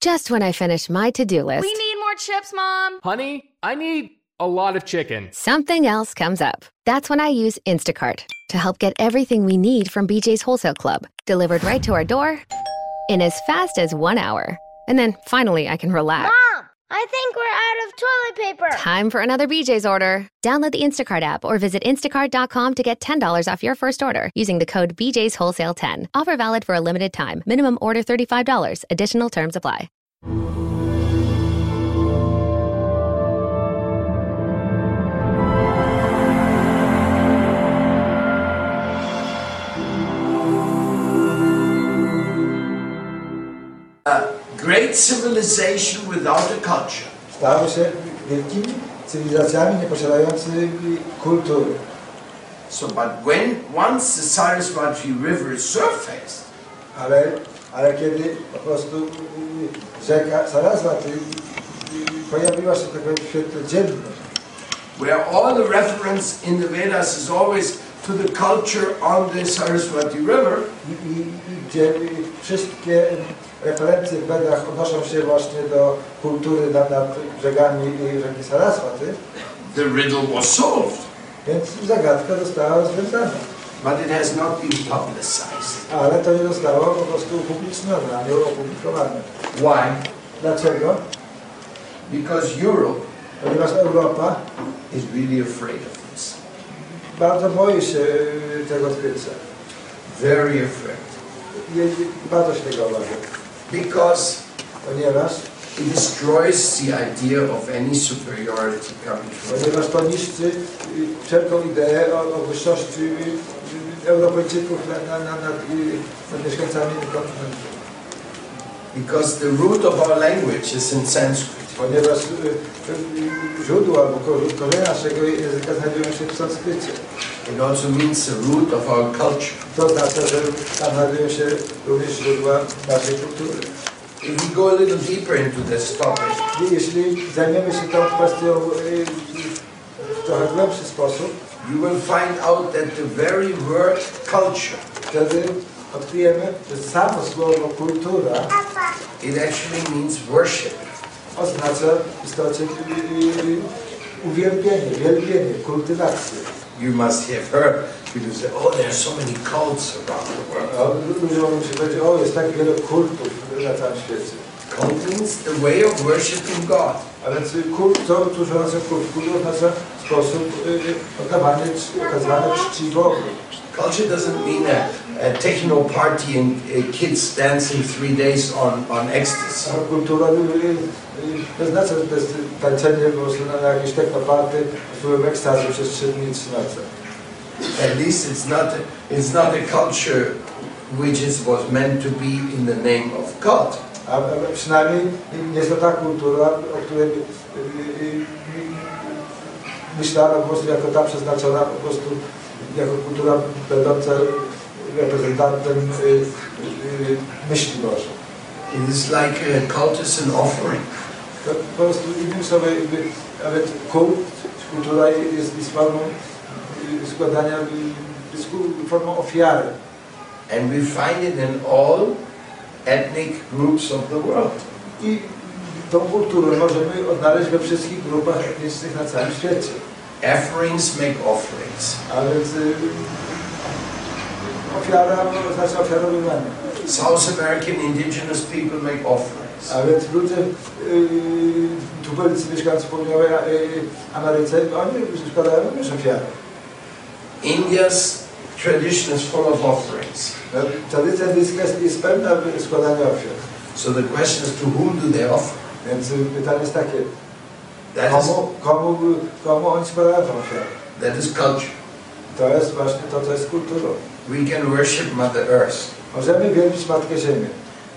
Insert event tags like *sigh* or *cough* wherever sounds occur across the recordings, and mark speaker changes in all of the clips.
Speaker 1: just when I finish my to do list,
Speaker 2: We need more chips, Mom.
Speaker 3: Honey, I need a lot of chicken.
Speaker 1: something else comes up. That's when I use Instacart to help get everything we need from BJ's Wholesale Club delivered right to our door in as fast as one hour. And then finally, I can relax.
Speaker 4: Mom, I think we're out of toilet paper.
Speaker 1: Time for another BJ's order. Download the Instacart app or visit instacart.com to get $10 off your first order using the code BJ's Wholesale 10. Offer valid for a limited time. Minimum order $35. Additional terms apply.
Speaker 5: Great civilization without a culture.
Speaker 6: Stały się wielkimi cywilizacjami nieposiadającymi kultury.
Speaker 5: So, but when once the Cyrus Marty River is surfaced,
Speaker 6: Ale, ale kiedy po prostu y, rzeka Saraswa y, y, pojawiła się taka świetna dzienność,
Speaker 5: where all the reference in the Vedas is always to the culture on the Saraswati River,
Speaker 6: i, i, i gdzie y, wszystkie referencje w Wedach odnoszą się właśnie do kultury nad, nad brzegami y, rzeki Saraswaty,
Speaker 5: the riddle was solved,
Speaker 6: więc zagadka została rozwiązana.
Speaker 5: but it has not been publicized.
Speaker 6: Ale to nie zostało po prostu upublicznione, a nie opublikowane.
Speaker 5: Why?
Speaker 6: Dlaczego?
Speaker 5: Because Europe
Speaker 6: Ponieważ Europa
Speaker 5: is really afraid of this,
Speaker 6: bardzo boi się y, tego odkrycia.
Speaker 5: very afraid,
Speaker 6: Je- je- Bardzo się tego obawia,
Speaker 5: because
Speaker 6: ponieważ,
Speaker 5: it destroys the idea of any superiority coming from
Speaker 6: ponieważ to niszczy y, wszelką ideę o, o wyższości y, y, Europejczyków nad, nad, nad, nad, y, nad mieszkańcami kontynentu.
Speaker 5: Because the root of our language is in Sanskrit.
Speaker 6: Ponieważ y, y, źródło albo ko- korzenie naszego języka znajdują się w sanskrycie.
Speaker 5: It also means the root of our culture.
Speaker 6: To oznacza, że tam znajdują się również źródła naszej kultury.
Speaker 5: If we go a little deeper into this topic,
Speaker 6: I jeśli zajmiemy się tą kwestią y, y, w trochę głębszy sposób,
Speaker 5: you will find out that the very word culture,
Speaker 6: Wtedy odkryjemy, że samo słowo kultura
Speaker 5: it actually means worship.
Speaker 6: oznacza w istocie y, y, uwielbienie, wielbienie, kultywację.
Speaker 5: You must have heard people say, oh, there are so many cults around the world.
Speaker 6: O, Ludzie mogą się powiedzieć, o jest tak wiele kultów na całym świecie.
Speaker 5: Cult means the way of worshiping God.
Speaker 6: Ale czy kult, to którzy oznacza kult? Kult oznacza sposób y, y, oddawania, czci- okazywania czci Bogu.
Speaker 5: Culture doesn't mean a, a techno party and uh, kids dancing three days on, on ecstasy.
Speaker 6: A Kultura y, y, y, nie znaczy, że to jest tańczenie po prostu na, na jakieś technoparty w wpływem ekstazy przez trzy dni i trzy noce.
Speaker 5: At least it's not it's not a culture which is, was meant to be in the name of God.
Speaker 6: A a przynajmniej nie jest to ta kultura, o której y, y, y, myślano po prostu jako ta przeznaczona po prostu jako kultura będąca reprezentantem y, y, myśli Bożej.
Speaker 5: It is like a cult is an offering.
Speaker 6: To po prostu innym słowy jakby nawet kult, kultura jest, jest formą y, składania, y, jest ku- formą ofiary.
Speaker 5: And we find it in all ethnic groups of the world.
Speaker 6: I tą kulturę możemy odnaleźć we wszystkich grupach etnicznych na całym świecie.
Speaker 5: Offerings make offerings.
Speaker 6: A więc y, ofiara no, znaczy oznacza ofiarowywanie.
Speaker 5: South American indigenous people make offerings.
Speaker 6: A więc ludzie, y, tubelcy mieszkańcy południowej y, Ameryce, oni składają również ofiary.
Speaker 5: India's tradition is full of offerings.
Speaker 6: No, Tradycja indyjska jest, jest pełna składania ofiar.
Speaker 5: So the question is to whom do they offer?
Speaker 6: Więc y, pytanie jest takie,
Speaker 5: That is,
Speaker 6: komu, komu, komu oni składają tą ofiarę?
Speaker 5: that is culture.
Speaker 6: To jest właśnie to, co jest kulturą.
Speaker 5: We can worship Mother Earth.
Speaker 6: Możemy wielbić Matkę Ziemię.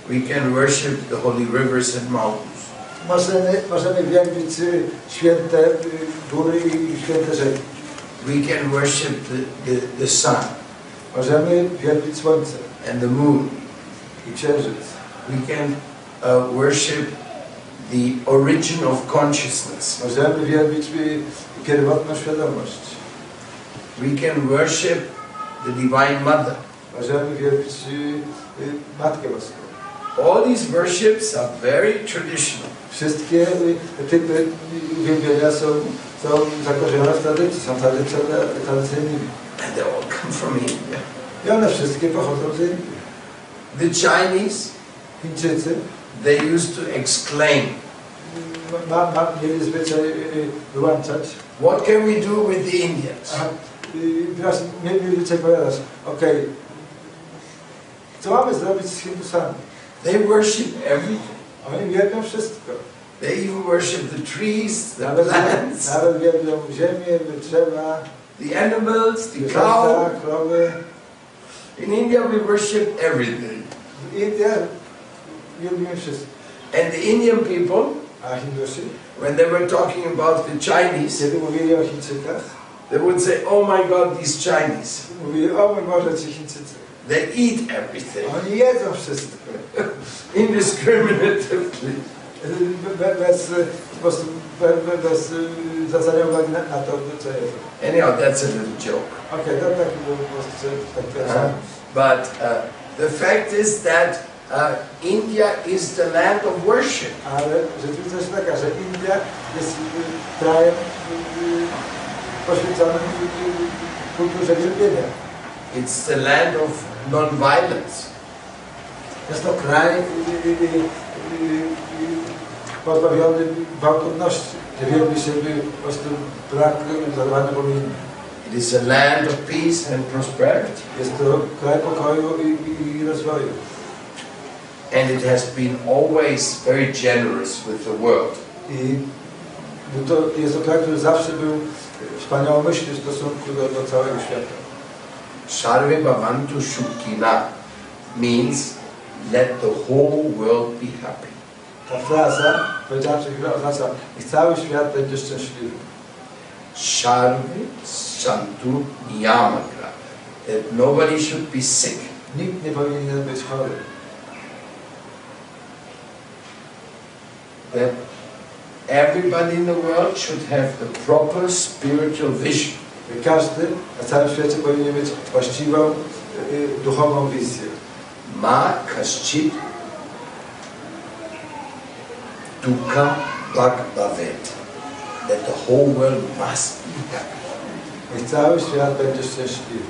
Speaker 5: We can worship the holy rivers and mountains.
Speaker 6: Możemy, możemy wielbić y, święte y, góry i święte rzeki.
Speaker 5: We can worship the, the, the sun
Speaker 6: Możemy wielbić słońce.
Speaker 5: and the moon.
Speaker 6: i księżyc.
Speaker 5: We can uh, worship the origin of consciousness.
Speaker 6: Możemy wielbić y, pierwotną świadomość.
Speaker 5: We can worship the Divine Mother.
Speaker 6: Możemy wielbić y, y, Matkę Boską.
Speaker 5: All these worships are very traditional.
Speaker 6: Wszystkie y, typy uwielbienia są, są zakorzenione w tradycji, są tradycyjne- tradycyjnymi.
Speaker 5: And they all *laughs* come from India.
Speaker 6: I one wszystkie pochodzą z Indii.
Speaker 5: The Chinese,
Speaker 6: Chińczycy
Speaker 5: they used to exclaim,
Speaker 6: y, ma, ma, mieli zwyczaj y, y, wyłączać.
Speaker 5: What can we do with the Indians?
Speaker 6: Aha, y, teraz mieli zwyczaj powiadać, okej, co mamy zrobić z Hindusami?
Speaker 5: They worship everything.
Speaker 6: Oni wielbią wszystko.
Speaker 5: They even worship the trees, the
Speaker 6: Nawet,
Speaker 5: plants,
Speaker 6: nawet wielbią ziemię, drzewa,
Speaker 5: the animals, the
Speaker 6: zwierzęta,
Speaker 5: cow.
Speaker 6: krowy.
Speaker 5: In India, we worship everything.
Speaker 6: W Indiach wielbimy wszystko.
Speaker 5: And the Indian people,
Speaker 6: A Hindusi?
Speaker 5: when they were talking about the Chinese,
Speaker 6: Kiedy mówili o Chińczykach,
Speaker 5: they would say, Oh my God, these Chinese,
Speaker 6: mówili o mój Boże, ci Chińczycy.
Speaker 5: they eat everything *laughs*
Speaker 6: Oni jedzą wszystko.
Speaker 5: indiscriminately.
Speaker 6: Be- be- Bez, e, po prostu be- be- bez e, zwracania uwagi na, na to, co jedzą.
Speaker 5: Anyhow, that's a little joke.
Speaker 6: Okej, to taki był po prostu tak
Speaker 5: Uh,
Speaker 6: pierwszy.
Speaker 5: but uh, the fact is that uh, India is the land of worship.
Speaker 6: Ale rzeczywistość jest taka, że India jest e, krajem e, poświęconym e, e, kulturze wielbienia.
Speaker 5: It's the land of non-violence.
Speaker 6: Jest to kraj y, y, y, y, y, pozbawiony gwałtowności. Nie wielbi się by po prostu brak zadawania pomiędzy.
Speaker 5: It is a land of peace and prosperity.
Speaker 6: Jest to kraj pokoju i, i, i rozwoju.
Speaker 5: And it has been always very generous with the world.
Speaker 6: I był to, jest to kraj, który zawsze był wspaniałomyślny w stosunku do, do całego świata.
Speaker 5: Sarve Bhavantu Sukhina means let the whole world be happy.
Speaker 6: Ta fraza powiedziała przed chwilą oznacza i cały świat będzie szczęśliwy.
Speaker 5: Sarve Santu Niyamagra. That nobody should be sick.
Speaker 6: Nikt nie powinien być chory.
Speaker 5: that everybody in the world should have the proper spiritual vision.
Speaker 6: Każdy na całym świecie powinien mieć właściwą, y, y, duchową wizję.
Speaker 5: Ma kaschit dukkha bhagavet. That the whole world must be happy.
Speaker 6: Niech cały świat będzie szczęśliwy.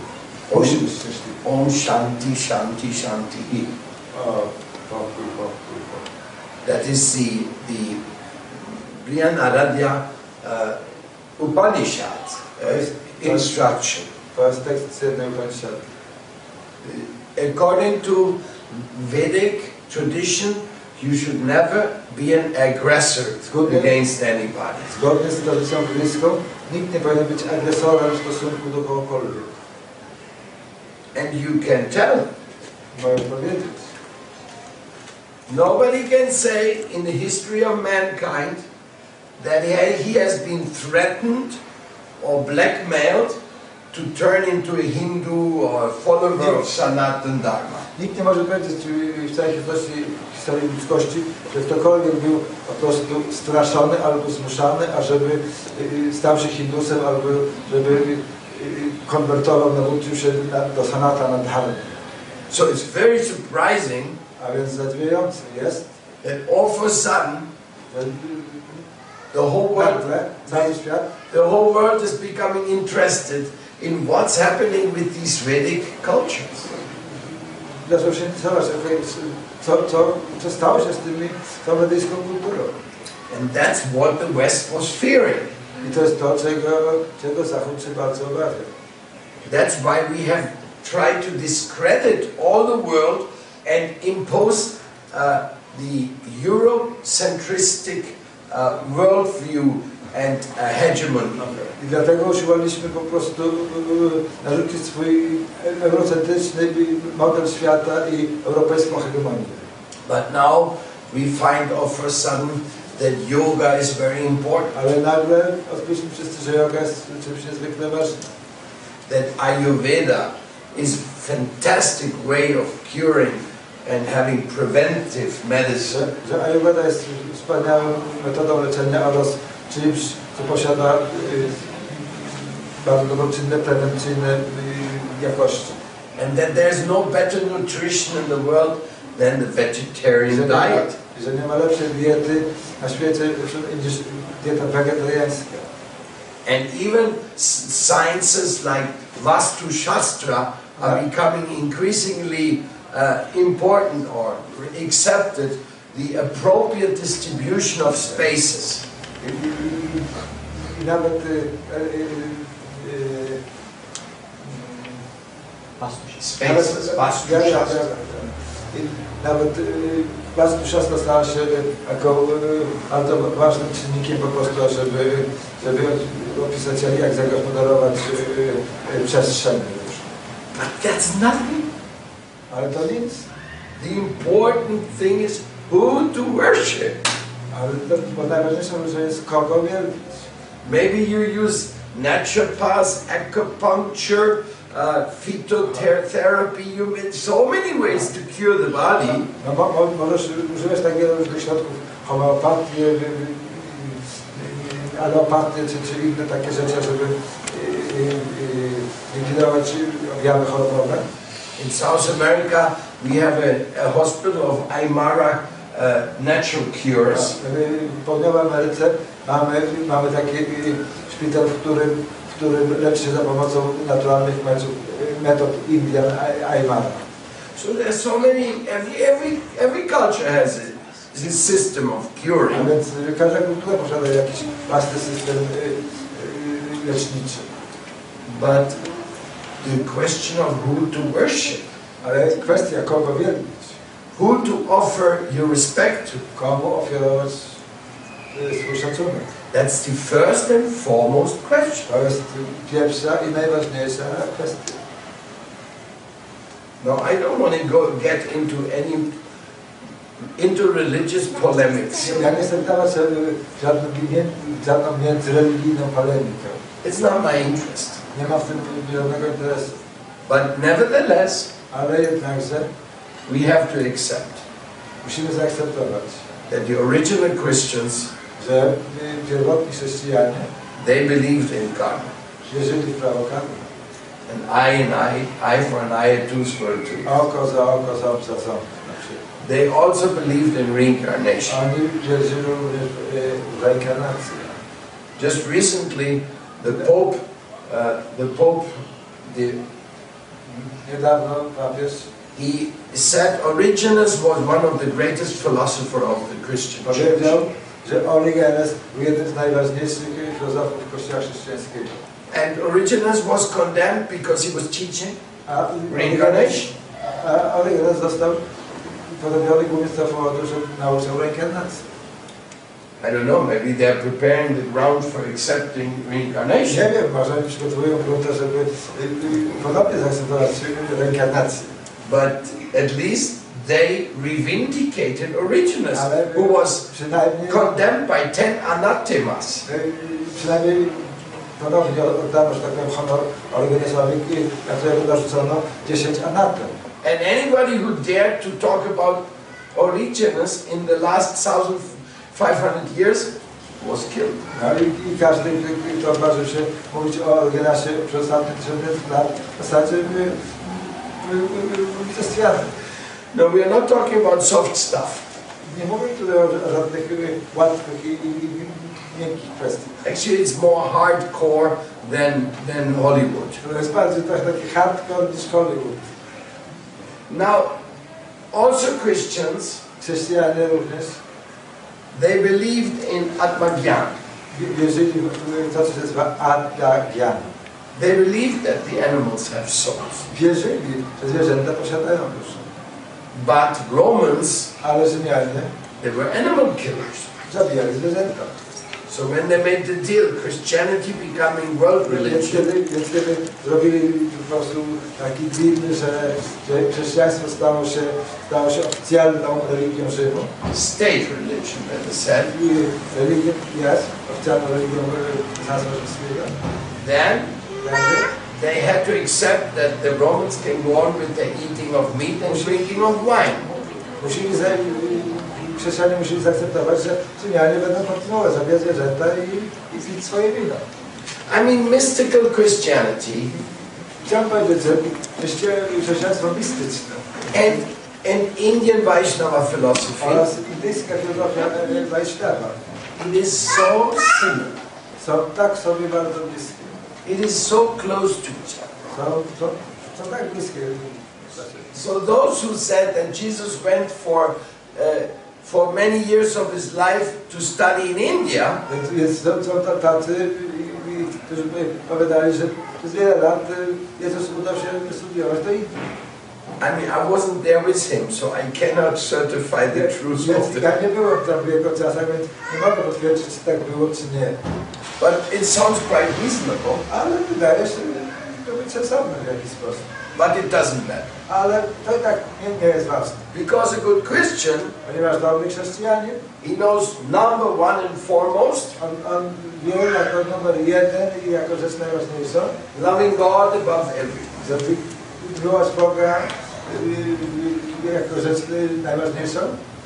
Speaker 6: Musi być szczęśliwy.
Speaker 5: Om Shanti Shanti Shanti.
Speaker 6: O, pokój, pokój, pokój.
Speaker 5: That is the the Brihadaranyaka uh, Upanishad uh, instruction.
Speaker 6: To jest tekst z jednej Upanishad.
Speaker 5: According to Vedic tradition, you should never be an aggressor
Speaker 6: Zgodnie.
Speaker 5: against anybody.
Speaker 6: Zgodnie z tradycją brytyjską, nikt nie powinien być agresorem w stosunku do kogokolwiek.
Speaker 5: And you can tell.
Speaker 6: Mają powiedzieć.
Speaker 5: Nobody can say in the history of mankind that he- he has been threatened or blackmailed to turn into a Hindu or a follower of Sanatan Dharma.
Speaker 6: Nikt nie może powiedzieć y, w całej historii, historii ludzkości, że ktokolwiek był po prostu straszony albo zmuszany, ażeby y, stał się Hindusem, albo żeby y, y, konwertował, nawrócił się na, do sanata na dharmę.
Speaker 5: So it's very surprising
Speaker 6: A więc zadziwiający jest,
Speaker 5: that all of a sudden
Speaker 6: że y,
Speaker 5: the whole world
Speaker 6: nagle cały świat
Speaker 5: The whole world is becoming interested in what's happening with these Vedic cultures.
Speaker 6: zaczął się interesować, okej, co, co, co stało się z tymi, z tą medyjską kulturą.
Speaker 5: And that's what the West was fearing.
Speaker 6: I to jest to, czego, czego Zachód się bardzo obawia.
Speaker 5: That's why we have tried to discredit all the world and impose uh, the Eurocentristic uh, worldview and uh, hegemony.
Speaker 6: I dlatego usiłowaliśmy po prostu e, e, narzucić swój eurocentryczny model świata i europejską hegemonię.
Speaker 5: But now we find all of a sudden that yoga is very important,
Speaker 6: Ale nagle odkryliśmy wszyscy, że joga jest czymś niezwykle ważnym.
Speaker 5: that Ayurveda is fantastic way of curing and having preventive medicine.
Speaker 6: Że, że ayurveda jest wspaniałą metodą leczenia oraz czymś, co posiada e, bardzo dobroczynne, prewencyjne e, jakości.
Speaker 5: and that there's no better nutrition in the world than the vegetarian
Speaker 6: Że nie, ma,
Speaker 5: diet.
Speaker 6: że nie ma lepszej diety na świecie niż dieta wegetariańska.
Speaker 5: And even s- sciences like Vastu Shastra are
Speaker 6: Yeah.
Speaker 5: becoming increasingly uh, important or accepted the appropriate distribution of spaces.
Speaker 6: I, i, i- i nawet y, y, y, y,
Speaker 5: Spaces, Vastu
Speaker 6: Ja, ja, ja,
Speaker 5: Shastra.
Speaker 6: I nawet y, Wastu Szasta no, stała się jako y, bardzo ważnym czynnikiem po prostu, żeby, żeby opisać jak- jak zagospodarować y, y, przestrzeń.
Speaker 5: But that's nothing.
Speaker 6: Ale to nic.
Speaker 5: The important thing is who to worship.
Speaker 6: Ale to, bo najważniejsze, że jest kogo wielbić.
Speaker 5: Maybe you use naturopaths, acupuncture, uh, phytotherapy. You mean so many ways to cure the body.
Speaker 6: No, mo, mo, możesz używać tak wielu różnych środków, homeopatię, y, y, y, y, alopatię czy, czy inne takie rzeczy, żeby y, y, y, likwidować y, objawy chorobowe.
Speaker 5: In South America, we have a, a hospital of Aymara uh, natural cures.
Speaker 6: Y, W Południowej Ameryce mamy, mamy taki y, szpital, w którym, w którym leczy się za pomocą naturalnych metod, metod Indian Ay- Aymara.
Speaker 5: So there's so many. Every every every culture has it, this system of
Speaker 6: A
Speaker 5: curing.
Speaker 6: więc y, każda kultura posiada jakiś własny system y, y, leczniczy.
Speaker 5: But the question of who to worship,
Speaker 6: Ale kwestia kogo wielbić.
Speaker 5: who to offer your respect to,
Speaker 6: Komu ofiarować y, swój szacunek?
Speaker 5: that's the first and foremost question.
Speaker 6: To jest y, pierwsza i najważniejsza kwestia.
Speaker 5: Now I don't want to go get into any interreligious polemics.
Speaker 6: Ja nie chcę dawać y, żadną, gimie- żadną międzyreligijną polemikę.
Speaker 5: It's not my interest.
Speaker 6: Nie ma w tym żadnego interesu.
Speaker 5: But nevertheless,
Speaker 6: Ale jednakże
Speaker 5: we have to accept
Speaker 6: musimy zaakceptować,
Speaker 5: that the original Christians
Speaker 6: że y, pierwotni chrześcijanie
Speaker 5: they believed in God,
Speaker 6: wierzyli w prawo karne.
Speaker 5: and eye and eye, eye for an eye, a tooth for a tooth.
Speaker 6: Oko za oko, ząb za ząb. na przykład.
Speaker 5: They also believed in reincarnation.
Speaker 6: Oni wierzyli również y, w reinkarnację.
Speaker 5: Just recently, the Pope, uh, the Pope, the,
Speaker 6: Niedawno papież
Speaker 5: he said Origenus was one of the greatest philosopher of the Christian
Speaker 6: Powiedział,
Speaker 5: Church,
Speaker 6: że Origenes był jednym z najważniejszych filozofów Kościoła chrześcijańskiego.
Speaker 5: and Origenus was condemned because he was teaching
Speaker 6: A Origenes,
Speaker 5: reincarnation.
Speaker 6: a Origenes został podobiony głównie z tego powodu, że nauczył reinkarnacji.
Speaker 5: I don't know. Maybe they're preparing the ground for accepting reincarnation.
Speaker 6: Nie wiem, może przygotowują grunta, żeby y, y, podobnie zaakceptować reinkarnację.
Speaker 5: But at least they revindicated Origenus,
Speaker 6: Ale
Speaker 5: who was
Speaker 6: przynajmniej,
Speaker 5: condemned by ten anathemas.
Speaker 6: y, przynajmniej ponownie oddano, że tak powiem, honor Origenesowi, y, na którego narzucono 10 anatem.
Speaker 5: And anybody who dared to talk about Origenus in the last 1,500 years was killed.
Speaker 6: No i, i każdy, kto- kto odważył się mówić o Orgenasie przez ostatnie tysiące lat, w zasadzie my, my, my, my ze światem.
Speaker 5: No, we are not talking about soft stuff.
Speaker 6: Nie mówię tutaj o ża- żadnych y, łatwych i, i, i miękkich kwestii.
Speaker 5: Actually, it's more hardcore than, than Hollywood.
Speaker 6: To jest bardziej tak, taki hardcore niż Hollywood.
Speaker 5: Now, also Christians,
Speaker 6: Chrześcijanie również
Speaker 5: they believed in Atmagyan.
Speaker 6: wi- wierzyli w w to, co się nazywa Adagian.
Speaker 5: They believed that the animals have souls.
Speaker 6: Wierzyli, że zwierzęta posiadają duszę.
Speaker 5: But Romans
Speaker 6: Ale Rzymianie
Speaker 5: They were animal killers.
Speaker 6: zabijali zwierzęta.
Speaker 5: So when they made the deal, Christianity becoming world
Speaker 6: Więc
Speaker 5: religion,
Speaker 6: kiedy, więc kiedy zrobili po prostu taki deal, że, że chrześcijaństwo stało się, stało się oficjalną religią Rzymu.
Speaker 5: state religion, as I said,
Speaker 6: I religia jest oficjalną religią e, Cesarstwa Rzymskiego.
Speaker 5: then
Speaker 6: Wtedy
Speaker 5: they had to accept that the Romans can go on with the eating of meat and drinking of wine.
Speaker 6: Musieli, za, i- i chrześcijanie musieli zaakceptować, że Rzymianie będą kontynuować zabijać zwierzęta i, i pić swoje wino.
Speaker 5: I mean, mystical Christianity,
Speaker 6: Chciałem powiedzieć, że chrześcija- chrześcijaństwo mistyczne
Speaker 5: and and Indian Vaishnava philosophy
Speaker 6: oraz indyjska filozofia e, Wajśnava
Speaker 5: it is so similar.
Speaker 6: są tak sobie bardzo bliskie.
Speaker 5: It is so close to each other.
Speaker 6: Są, są, są tak bliskie.
Speaker 5: So those who said that Jesus went for uh, for many years of his life to study in India,
Speaker 6: Więc jest, są, są ta- tacy, i- i- którzy by powiadali, że przez wiele lat e, Jezus udał się studiować do Indii.
Speaker 5: I mean, I wasn't there with him, so I cannot certify the truth of
Speaker 6: Więc
Speaker 5: the.
Speaker 6: tak nie było tam w jego czasach, więc nie mogę potwierdzić, czy tak było, czy nie.
Speaker 5: But it sounds quite reasonable.
Speaker 6: Ale wydaje się to być sensowne w jakiś sposób.
Speaker 5: But it doesn't matter
Speaker 6: Ale to i tak nie, nie jest ważne,
Speaker 5: because a good Christian
Speaker 6: ponieważ dobry chrześcijanin,
Speaker 5: he knows number one and foremost
Speaker 6: on, on wie jako numer jeden i jako rzecz najważniejszą,
Speaker 5: loving God above everything.
Speaker 6: żeby miłość Boga y, y, jako rzecz y, najważniejszą.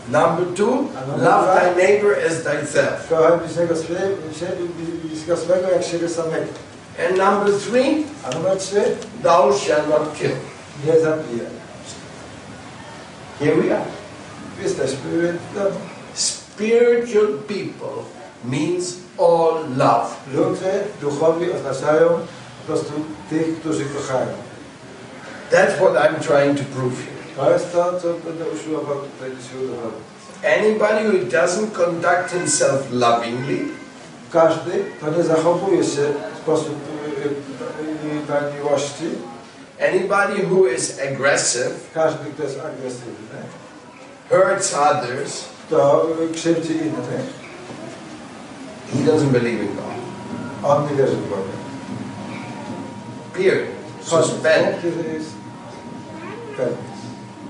Speaker 5: Number two,
Speaker 6: Another
Speaker 5: love
Speaker 6: one.
Speaker 5: thy neighbor as thyself.
Speaker 6: Kocham bliźniego swe- siebie, bliźniego swego jak siebie samego.
Speaker 5: And number three,
Speaker 6: A numer trzy,
Speaker 5: thou shalt not kill.
Speaker 6: nie zabiję.
Speaker 5: Here we are.
Speaker 6: Jesteśmy no,
Speaker 5: Spiritual people means all love.
Speaker 6: ludzie, duchowi oznaczają po prostu tych, którzy kochają.
Speaker 5: That's what I'm trying to prove here.
Speaker 6: To jest to, co będę usiłował tutaj dzisiaj udowodnić.
Speaker 5: Anybody who doesn't conduct himself lovingly
Speaker 6: Każdy, kto nie zachowuje się w sposób y, y, y, na miłości,
Speaker 5: Anybody who is aggressive,
Speaker 6: każdy, kto jest agresywny,
Speaker 5: hurts others,
Speaker 6: kto y, krzywdzi innych,
Speaker 5: he doesn't believe in God.
Speaker 6: on nie wierzy w Boga.
Speaker 5: Period. Suspend.
Speaker 6: Koniec. Kiedy jest- Koniec.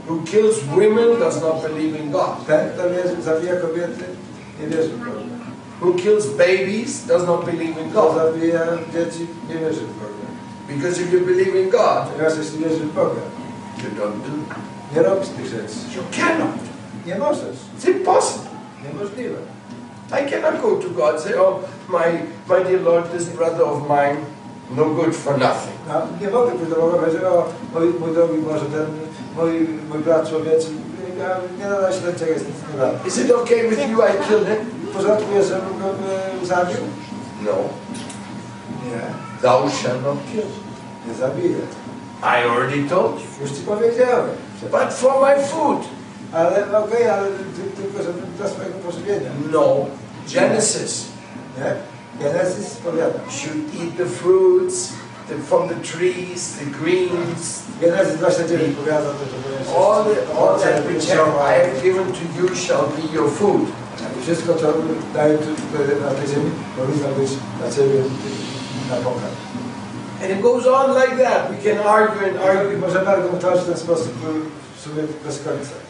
Speaker 5: Who kills women does not believe in God.
Speaker 6: Ten, kto wierzy, zabija kobiety, nie wierzy w Boga.
Speaker 5: Who kills babies does not believe in
Speaker 6: Kto
Speaker 5: God.
Speaker 6: zabija dzieci, nie wierzy w Boga.
Speaker 5: Because if you believe in God,
Speaker 6: Ponieważ jeśli wierzy w Boga,
Speaker 5: you don't do it.
Speaker 6: nie robisz tych rzeczy.
Speaker 5: You cannot.
Speaker 6: Nie możesz.
Speaker 5: It's impossible.
Speaker 6: Niemożliwe.
Speaker 5: I cannot go to God and say, Oh, my, my dear Lord, this brother of mine, no good for nothing.
Speaker 6: No, nie mogę pójść do Boga, powiedzieć, o, mój, mój drogi Boże, ten mój, mój brat człowieczy, ja nie nadaje się do niczego, jest nic nie rady.
Speaker 5: Is it okay with you I kill him?
Speaker 6: W porządku jest, żebym go e, zabił?
Speaker 5: No.
Speaker 6: Nie,
Speaker 5: Thou shalt not kill.
Speaker 6: nie zabiję.
Speaker 5: I already told you.
Speaker 6: Już Ci powiedziałem.
Speaker 5: But for my food.
Speaker 6: Ale no okej, ale ty, tylko żeby dla swojego pożywienia.
Speaker 5: No. Genesis.
Speaker 6: Nie? Genezis powiada.
Speaker 5: You should eat the fruits the, from the trees, the greens,
Speaker 6: Genezis 29 powiada, to że powinieneś
Speaker 5: all, the,
Speaker 6: wszystko,
Speaker 5: all
Speaker 6: co
Speaker 5: that which have I have given to you shall be your food.
Speaker 6: I Wszystko, co daję tu tutaj na tej ziemi, powinno być dla Ciebie na pokaz.
Speaker 5: And it goes on like that. We can argue and argue.
Speaker 6: Argu- Możemy argumentować w ten sposób y, w sumie bez końca.